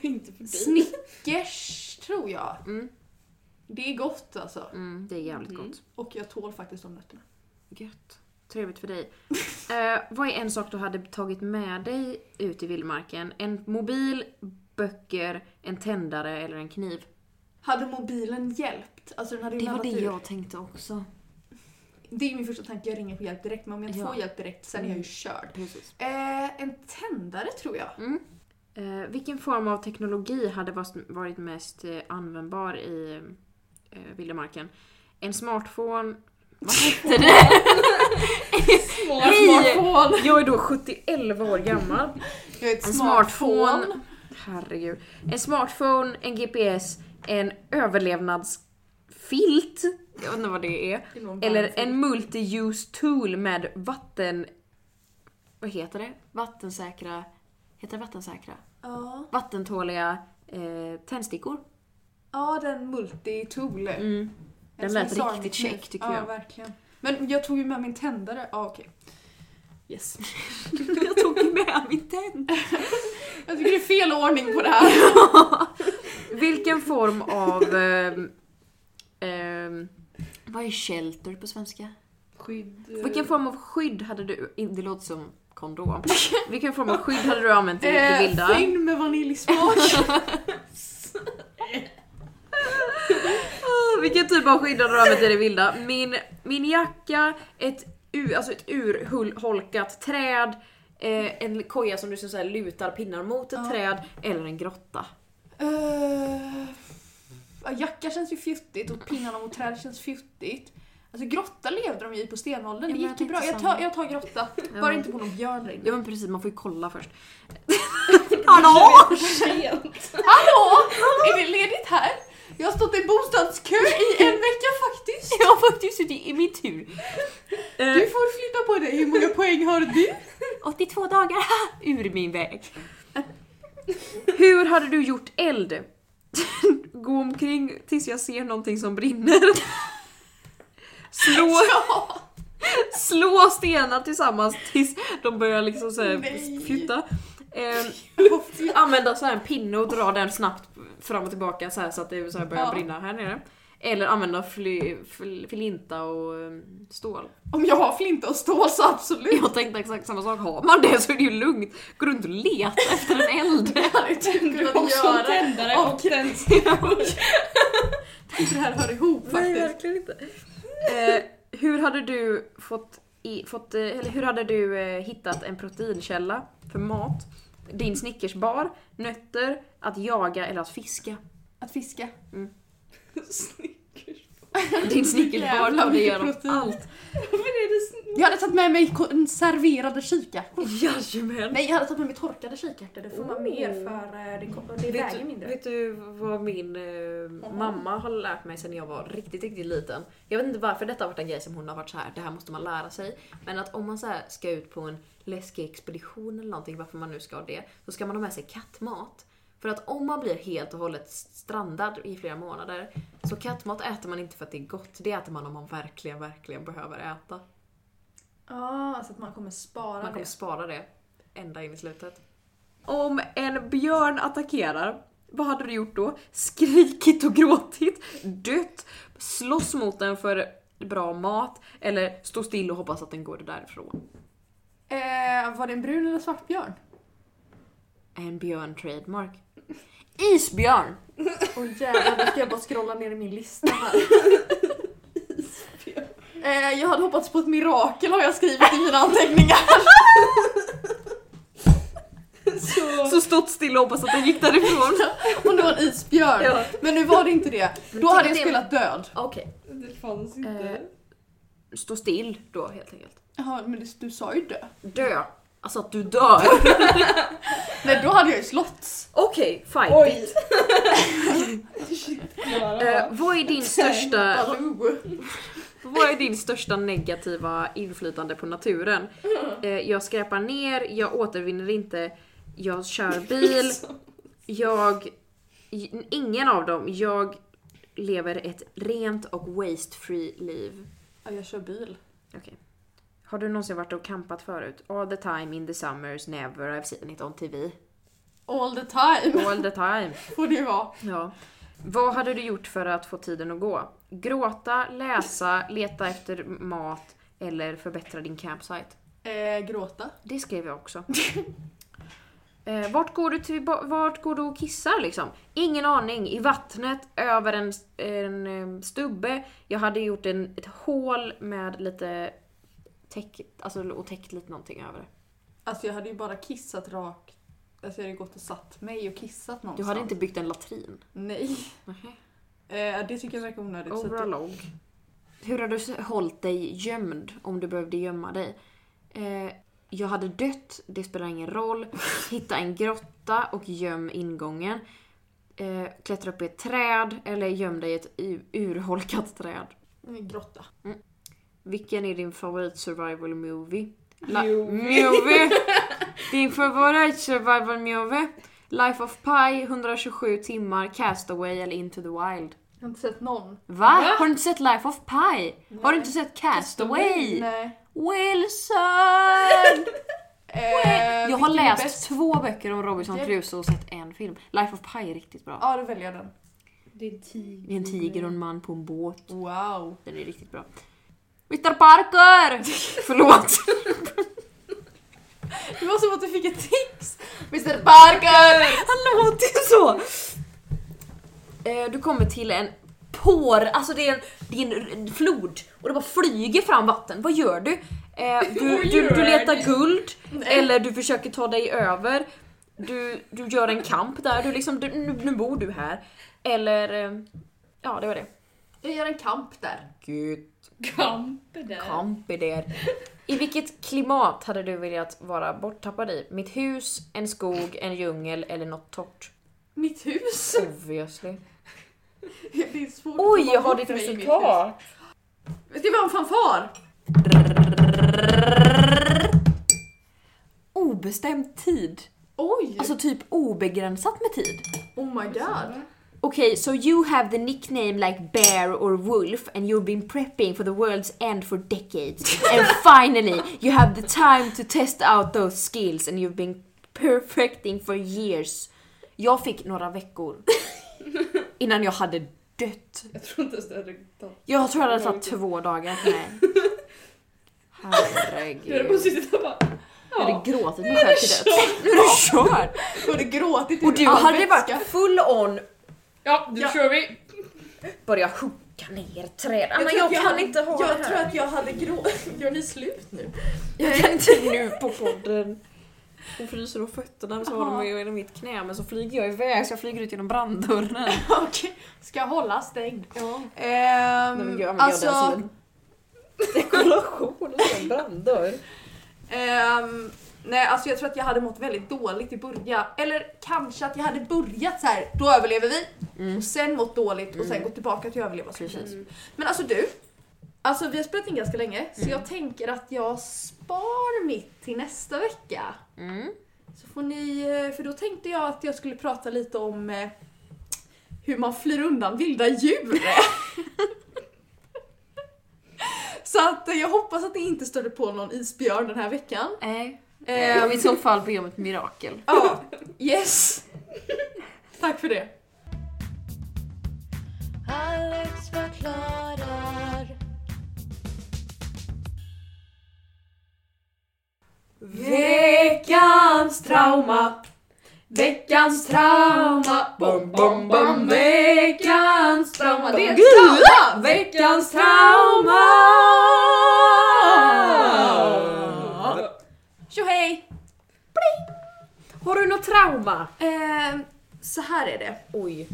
inte för dig. Snickers tror jag. Mm, Det är gott alltså. mm, det är jävligt Mm. gott. Och jag tål faktiskt de nötterna. Gött. Trevligt för dig. Eh, vad är en sak du hade tagit med dig ut i vildmarken? En mobil, böcker, en tändare eller en kniv? Hade mobilen hjälpt? Alltså den hade ju Det var laddat det ur. jag tänkte också. det är ju min första tanke, jag ringer på hjälp direkt. Men om jag inte Ja. får hjälp direkt, sen är jag ju körd. Precis. Eh, en tändare tror jag. Eh, vilken form av teknologi hade vas- varit mest eh, användbar i eh, vildemarken? En smartphone... Vad hette det? smartphone. Jag är då 71 år gammal. Jag är ett En smartphone. Herregud. En smartphone, en GPS, en överlevnadsfilt. Jag vet inte vad det är. Eller en multi-use tool med vatten... Vad heter det? Vattensäkra... Heter det vattensäkra? Ja. Vattentåliga eh, tändstickor. ja, den multitool. Mm. En Den lät som en riktigt sargkniv. check, tycker ja, jag. verkligen. Men jag tog ju med min tändare. Ja, okej. Yes. Jag tog med min tänd. Jag tycker det är fel ordning på det här. Vilken form av... ehm, ehm, Vad är shelter på svenska? Skydd. vilken form av skydd hade du... Det låter som kondom. Vilken form av skydd hade du använt i det Eh, vilda? Fynd med vaniljsmak. Vilken typ av skydd hade du använt i det vilda? Min, min jacka, ett, ur, alltså ett urholkat träd, eh, en koja som du så här lutar pinnar mot ett Ja. träd, eller en grotta. Eh, ja, jacka känns ju fjuttigt och pinnarna mot träd känns fjuttigt. Alltså grotta levde de ju i på stenåldern, Ja, det men jag gick ju bra. tänkte Jag samma. tar, jag tar grotta. Ja. Bara inte på någon björn längre. Ja men precis, man får ju kolla först. Hallå! Hallå! Är det ledigt här? Jag har stått i bostadskö i en vecka faktiskt. Jag har faktiskt suttit i min tur. Eh, Du får flytta på dig, hur många poäng har du? 82 dagar ha, ur min väg. hur hade du gjort eld? Gå omkring tills jag ser någonting som brinner. Slå, Ja. slå stenar tillsammans tills de börjar liksom så Nej. här fjutta. Eh, använda så här en pinne och dra den snabbt fram och tillbaka så, här så att det så här börjar Ja. brinna här nere. Eller använda fly, fl- flinta och ehm, stål. Om jag har flinta och stål så absolut. Jag tänkte exakt samma sak. Har man det så är det ju lugnt. Gå runt och leta efter en eld. Du tändare och tändstickor. Det här hör ihop faktiskt. verkligen inte. Eh, hur hade du fått, i, fått eh, eller hur hade du eh, hittat en proteinkälla för mat? Din snickersbar, nötter, att jaga eller att fiska? Att fiska. Din snickersbar Jävlar, lade mycket igenom protein. allt. Jag hade tagit med mig konserverade kikärtor. Jajamän! Nej, jag hade tagit med mig torkade kikärtor. Det får man Oh. mer för eh, det, kom- det Vet väger du, mindre. Mm. vet du vad min eh, mamma har lärt mig sen jag var riktigt, riktigt liten? Jag vet inte varför detta har varit en grej som hon har varit så här. det här måste man lära sig. Men att om man så här ska ut på en läskig expedition eller någonting, varför man nu ska det, så ska man ha med sig kattmat. För att om man blir helt och hållet strandad i flera månader, så kattmat äter man inte för att det är gott, det äter man om man verkligen, verkligen behöver äta. Ah, så att man kommer spara Man kommer det. spara det ända in i slutet. Om en björn attackerar, vad hade du gjort då? Skrikit och gråtit? Dött? Slåss mot den för bra mat? Eller stå still och hoppas att den går därifrån? Eh, var det en brun eller svart björn? En björn trademark. Isbjörn! Åh jävlar, nu ska jag bara scrolla ner i min lista här. eh, jag hade hoppats på ett mirakel har jag skrivit i mina anteckningar. Så stått still och hoppas att den gick därifrån? Om det var en isbjörn. Ja. Men nu var det inte det. Då hade jag det- spelat död. Okej. Det fanns Eh, stå still då helt enkelt. Jaha, men det, du sa ju dö. Dö. Alltså att du dör. Nej, då hade jag ju slått. Okej, fine. Oj! Klara. Eh, vad är din största... Baloo. Vad är din största negativa inflytande på naturen? Eh, jag skräpar ner, jag återvinner inte, jag kör bil, jag... i- Ingen av dem. Jag lever ett rent och waste-free liv. Ja, jag kör bil. Okej. Har du någonsin varit och campat förut? All the time, in the summers, never, I've seen it on TV. All the time All the time. får det vara. Ja. Vad hade du gjort för att få tiden att gå? Gråta, läsa, leta efter mat eller förbättra din campsite? Eh, gråta. Det skrev jag också. Eh, vart, går du till, vart går du och kissar liksom? Ingen aning. I vattnet, över en, en eh, stubbe. Jag hade gjort en, ett hål med lite täck, alltså, och täckt lite någonting över det. Alltså jag hade ju bara kissat rakt. Alltså jag hade gått och satt mig och kissat Du någonstans. hade inte byggt en latrin? Nej. Nähä. Eh, det tycker jag verkar onödigt. så att- Overallog. Hur hade du hållit dig gömd om du behövde gömma dig? Eh, jag hade dött, det spelar ingen roll. Hitta en grotta och göm ingången. Eh, klättra upp i ett träd eller göm dig i ett u- urholkat träd. En grotta. Vilken är din favorit survival movie? La- Movie. movie. Din favorit survival movie? Life of Pi, 127 timmar, Castaway eller Into the Wild? Jag har inte sett någon. Va? Har du inte sett Life of Pi? Har du inte sett Castaway? Nej. Wilson! Eh, Jag vilken har är läst bäst? två böcker om Robinson Det- Crusoe och sett en film. Life of Pi är riktigt bra. Ja, då väljer jag den. Det är en tiger. Det är en tiger och en man på en båt. Wow. Den är riktigt bra. Mr Parker! Förlåt. Det var som att du fick ett tips! Mr Parker! Han låter ju så! Eh, Du kommer till en pår, alltså det är en, det är en flod och det bara flyger fram vatten. Vad gör du? Eh, Du, du, du letar guld, eller du försöker ta dig över. Du, du gör en kamp där, du liksom, du, nu, nu bor du här. Eller, eh, ja det var det. Jag gör en kamp där. Gud, Kamper där. kamp i det. I vilket klimat hade du velat vara borttappad i? Mitt hus, en skog, en djungel eller något torrt? Mitt hus! Obviously. Det är svårt att Oj, komma jag har bort ditt mig i mitt resultat! hus. Ska vi ha en fanfar? Obestämd tid. Oj! Alltså typ obegränsat med tid. oh my Alltså, god. Okay, so you have the nickname like bear or wolf and you've been prepping for the world's end for decades. and finally, you have the time to test out those skills and you've been perfecting for years. Jag fick några veckor innan jag hade dött. Jag tror inte ens det hade tagit. Jag tror det hade tagit två dagar. Nej. Jag hade Herregud. bara suttit och bara... Jag Ja. hade gråtit mig själv till döds. Nu är det kört! Du hade gråtit Och du hade varit full on, Ja, nu Ja. kör vi! börja hugga ner träd. Anna tror jag, att kan inte ha Jag det tror här. att jag hade gråtit. Gör ni slut nu? Jag kan inte nu på podden. Hon fryser om fötterna så har Jaha. de ju genom mitt knä men så flyger jag iväg så jag flyger ut genom branddörren. Okej. Ska jag hålla stängd? Ja. Ehm, Men gör man alltså... alltså, gör det som en dekoration, alltså en branddörr. ehm, nej, alltså jag tror att jag hade mått väldigt dåligt i början. Eller kanske att jag hade börjat så här. då överlever vi. Och sen mått dåligt och sen Mm. gått tillbaka till att överleva. Så Precis. Mm. Men alltså du, alltså vi har spelat in ganska länge Mm. så jag tänker att jag spar mitt till nästa vecka. Mm. Så får ni, eh, för då tänkte jag att jag skulle prata lite om eh, hur man flyr undan vilda djur. så att eh, jag hoppas att ni inte stöter på någon isbjörn den här veckan. Nej. Eh, Ehm, I så fall be om ett mirakel. ja, yes! Tack för det. Alex förklarar. Veckans trauma Veckans trauma Bom, bom, bom Veckans trauma Det är trauma! Veckans trauma Tjohej! Har du något trauma? Eh, så här är det. Oj.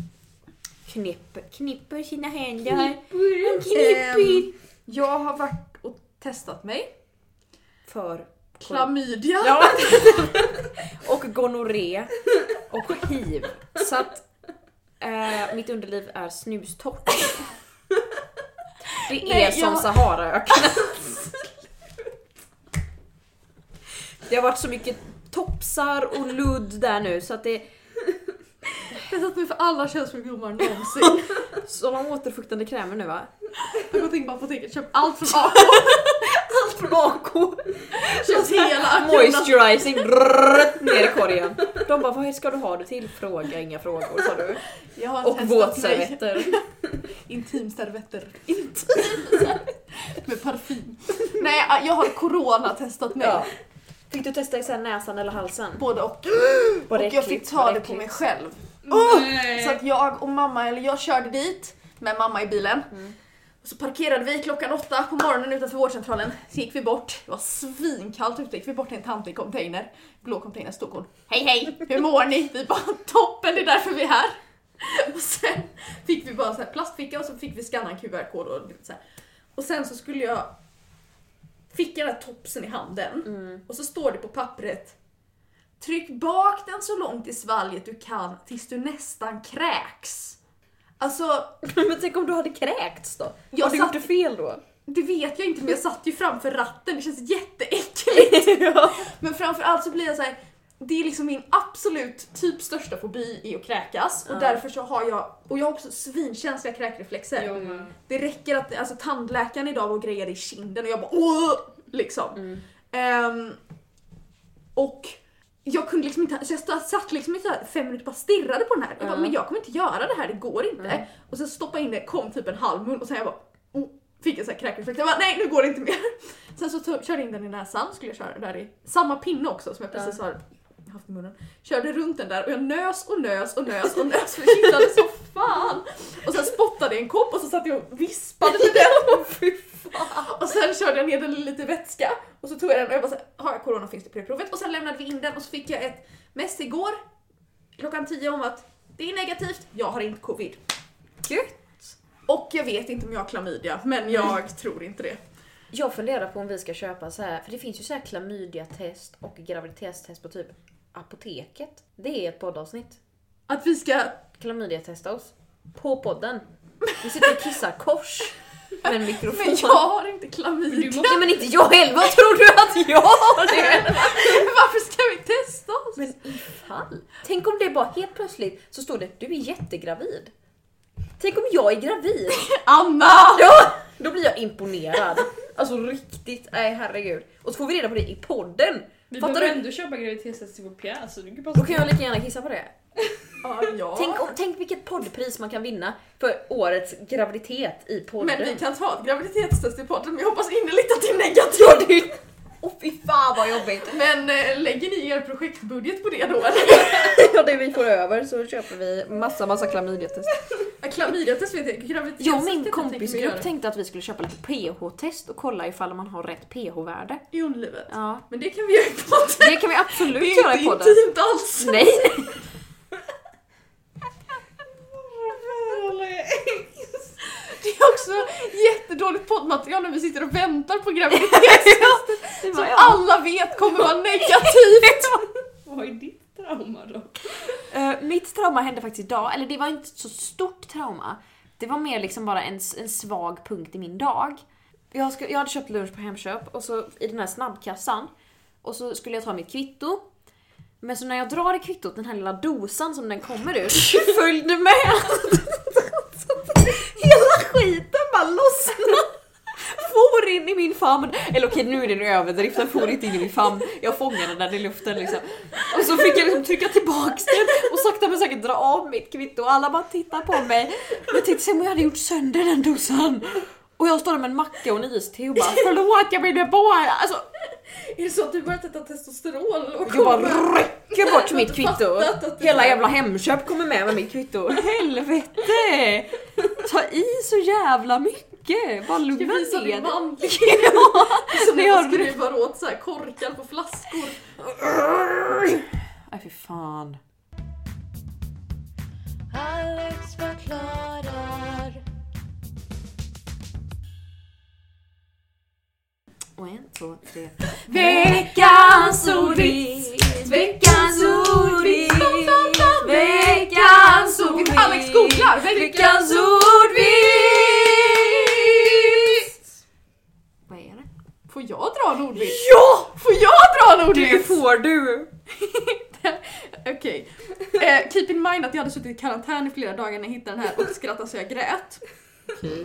Knipp, knipper sina händer. Ehm, jag har varit och testat mig. För Klamydia. Ja. och gonorré och hiv. Så att eh, mitt underliv är snustort. Det är Nej, som jag- Saharaöknen. Det har varit så mycket topsar och ludd där nu så att det Testat mig för alla könssjukdomar någonsin. sådana återfuktande krämer nu va? Jag går in på apoteket, köp allt från A. Allt från AK! Köp hela Moisturizing brrrr, ner i korgen. De bara vad ska du ha det till? Fråga inga frågor sa du. Jag har Och testat mig. våtservetter. Intimservetter. Med parfym. Nej, jag har corona testat mig. Ja. Fick du testa i sen näsan eller halsen? Både och. Var det Och jag äckligt? fick Var ta det på äckligt? mig själv. Oh! Så att jag och mamma, eller jag körde dit med mamma i bilen. Mm. Och så parkerade vi klockan åtta på morgonen utanför vårdcentralen. Så gick vi bort, det var svinkallt ute, gick vi bort till en tant i container. Blå container stod hon. Hej hej, hur mår ni? Vi bara toppen, det är därför vi är här. Och sen fick vi bara så här plastficka och så fick vi skanna en QR-kod och lite så här. Och sen så skulle jag... Fick jag den här topsen i handen Mm. och så står det på pappret Tryck bak den så långt i svalget du kan tills du nästan kräks. Alltså, Men tänk om du hade kräkts då? Jag har du gjort satt- det fel då? det vet jag inte men jag satt ju framför ratten, det känns jätteäckligt. ja. Men framförallt så blir jag så här. det är liksom min absolut typ största fobi är att kräkas och Ja. därför så har jag, och jag har också svinkänsliga kräkreflexer. Det räcker att alltså, tandläkaren idag var och grejade i kinden och jag bara åh! Liksom. Mm. Ehm, och jag kunde liksom inte, så jag stod- satt liksom i så här fem minuter och bara stirrade på den här. Jag bara, Mm. men jag kommer inte göra det här, det går inte. Mm. Och sen stoppade jag in det, kom typ en halv mun och sen jag bara oh, fick en sån här kräkreflex. Jag bara nej nu går det inte mer. Sen så tog- körde jag in den i näsan, skulle jag köra den där i samma pinne också som jag precis har haft i munnen. Körde runt den där och jag nös och nös och nös och nös för det kittlade så fan. Och sen spottade jag i en kopp och så satt jag och vispade med den. Fy fan. Och sen körde jag ner den i lite vätska och så tog jag den och jag bara såhär, har jag corona finns det p-provet? Och sen lämnade vi in den och så fick jag ett mess igår klockan 10 om att det är negativt, jag har inte covid. Gött. Och jag vet inte om jag har klamydia, men jag tror inte det. Jag funderar på om vi ska köpa så här, för det finns ju så här klamydia-test och graviditetstest på typ apoteket. Det är ett poddavsnitt. Att vi ska... Klamydia-testa oss. På podden. Vi sitter och kissar kors. Med en mikrofon. Men jag har inte klamydia! Ja, men inte jag heller, vad tror du att jag har det? Varför ska vi testa oss? Men ifall. Tänk om det bara helt plötsligt så står det du är jättegravid. Tänk om jag är gravid. Anna! Ja! Då blir jag imponerad. Alltså riktigt, nej herregud. Och så får vi reda på det i podden. Vi Fattar behöver du? ändå köpa graviditetstest till vår pjäs. så Du kan bara Då kan jag lika gärna kissa på det. Ja, ja. Tänk, om, tänk vilket poddpris man kan vinna för årets graviditet i podden. Men vi kan ta ett graviditetstest i podden, men jag hoppas innerligt att det är negativt. Ja, det... Åh fy fan vad jobbigt! Men eh, lägger ni er projektbudget på det då eller? Ja, det vi får över så köper vi massa massa klamydiatest. Klamydiatest vet jag graviditetstest Jag och min tänker jag kompisgrupp göra. tänkte att vi skulle köpa lite pH-test och kolla ifall man har rätt pH-värde. I underlivet. Ja. Men det kan vi göra i podden. Det kan vi Det absolut göra är i inte podden. intimt alls. Nej! Det är också jättedåligt poddmaterial när vi sitter och väntar på graviditetstestet Det var som jag. alla vet kommer vara negativt. Vad är ditt trauma då? Eh, mitt trauma hände faktiskt idag, eller det var inte så stort trauma. Det var mer liksom bara en, s- en svag punkt i min dag. Jag, sku, jag hade köpt lunch på Hemköp och så i den här snabbkassan och så skulle jag ta mitt kvitto. Men så när jag drar i kvittot, den här lilla dosan som den kommer ut, följde med! Så att Hela skiten bara lossnade! For in i min famn! Eller okej, nu är det en överdrift, den for inte in i min famn. Jag fångade den i luften liksom. Och så fick jag liksom trycka tillbaks den och sakta men säkert dra av mitt kvitto och alla bara tittar på mig. Jag tänkte se om jag hade gjort sönder den dosan. Och jag står där med en macka och en iste och bara förlåt jag ville bara... Alltså, Är det så att du börjat äta testosteron? Och jag bara rycker bort mitt kvitto. fattat att det- Hela jävla Hemköp kommer med med mitt kvitto. Helvete! Ta i så jävla mycket! Bara ska lugna visa din ner dig. manlighet Ja, som det när jag har du. skruvar åt så här korkar på flaskor. Nej fy fan. Alex förklarar. Och en, två, tre. Veckans ordvits! Veckans ordvits! Veckans ordvits! Alex googlar! Veckans ordvits! Vad är det? Får jag dra en ordvits? Ja! Får jag dra en ordvits? får du! Okej. Eh, keep in mind att jag hade suttit i karantän i flera dagar när jag hittade den här och skrattade så jag grät.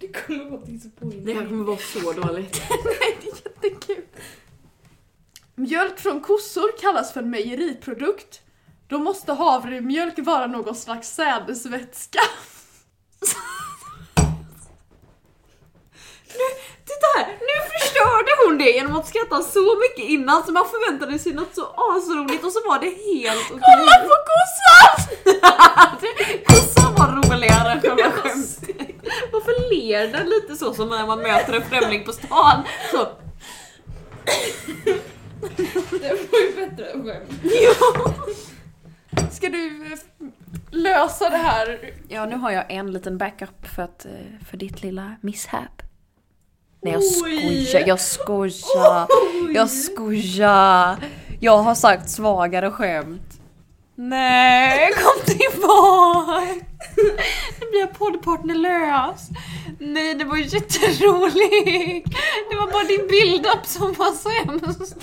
Det kommer vara disappointing. Det här kommer vara så dåligt. Nej, det är jättekul. Mjölk från kossor kallas för mejeriprodukt. Då måste havremjölk vara någon slags sädesvätska. Titta här! Nu förstörde hon det genom att skratta så mycket innan så man förväntade sig något så asroligt och så var det helt okej. Kolla på kossan! kossan var roligare än själva skämtet. Varför ler den lite så som när man möter en främling på stan? Så, Det var ju bättre än skämt. Ska du eh, lösa det här? ja nu har jag en liten backup för, att, eh, för ditt lilla misshap. Nej jag Oj. skojar, jag skojar, jag skojar. Jag har sagt svagare skämt. Nej, kom tillbaka! Nu blir jag poddpartnerlös. Nej, det var ju jätteroligt. Det var bara din build-up som var sämst.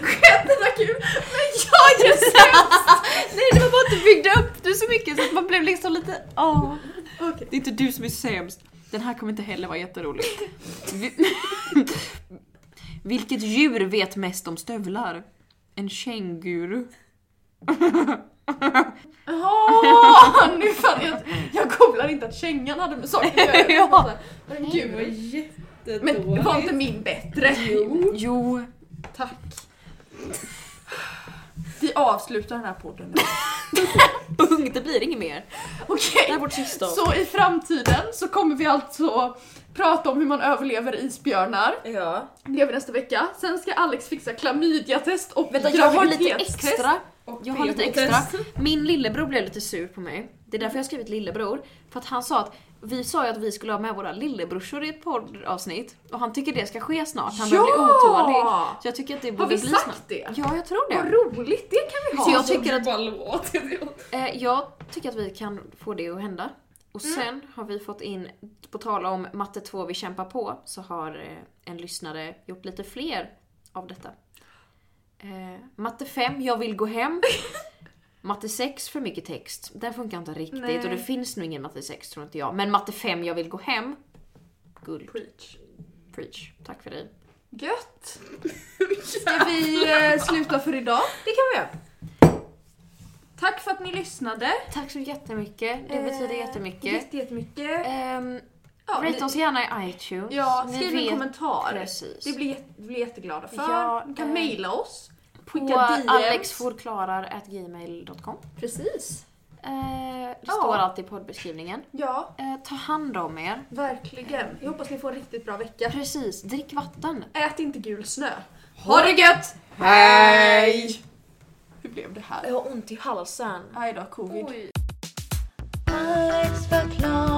Skämten var kul, men jag är sämst! Nej, det var bara att du byggde upp det så mycket så att man blev liksom lite... Åh. Okej. Det är inte du som är sämst. Den här kommer inte heller vara jätterolig. Vi- Vilket djur vet mest om stövlar? En känguru. Jaha, nu fan jag, jag kopplar inte att kängan hade med saker att göra. Jag bara så här, Men Det var gud, men jättedåligt. var inte min bättre? Jo. Jo, Tack. Vi avslutar den här podden nu. bung, det blir inget mer. Okej, Det här är vårt sista. så i framtiden så kommer vi alltså prata om hur man överlever isbjörnar. Ja. Det gör vi nästa vecka. Sen ska Alex fixa klamydiatest och Vänta, jag har lite graviditetstest. extra. Och Jag har lite PK-test. extra. Min lillebror blev lite sur på mig. Det är därför jag har skrivit lillebror. För att han sa att vi sa ju att vi skulle ha med våra lillebrorsor i ett poddavsnitt. Och han tycker det ska ske snart. Han börjar bli otålig. Så jag tycker att det borde Har vi bli snart. sagt det? Ja, jag tror Vad det. roligt, det kan vi ha! Så jag tycker att, Alltså, Bara låt. eh, jag tycker att vi kan få det att hända. Och Mm. sen har vi fått in, på tal om matte 2 vi kämpar på, så har eh, en lyssnare gjort lite fler av detta. Eh, matte 5, jag vill gå hem. matte 6, för mycket text. Den funkar inte riktigt Nej. och det finns nog ingen matte 6 tror inte jag. Men matte 5, jag vill gå hem. Guld. Preach. Preach. Tack för dig. Gött! Ska vi eh, sluta för idag? Det kan vi göra. Tack för att ni lyssnade. Tack så jättemycket. Det betyder Eh, jättemycket. jätte- Jättemycket. Ehm, Ja, Rate ni- oss gärna i iTunes. ja, Ni skriv en vet kommentar. Precis. Det blir, jätte- vi blir jätteglada för. Ja, ni kan eh, mejla oss. på Skicka DMs. alexforklarar.gmail.com Precis. eh, Det Ja. står alltid i poddbeskrivningen. Ja, Eh, ta hand om er. verkligen. Jag hoppas ni får en riktigt bra vecka. Precis, drick vatten. Ät inte gul snö. Ha det gött! Hej! Hur blev det här? Jag har ont i halsen. Aj då, covid. Alex förklarar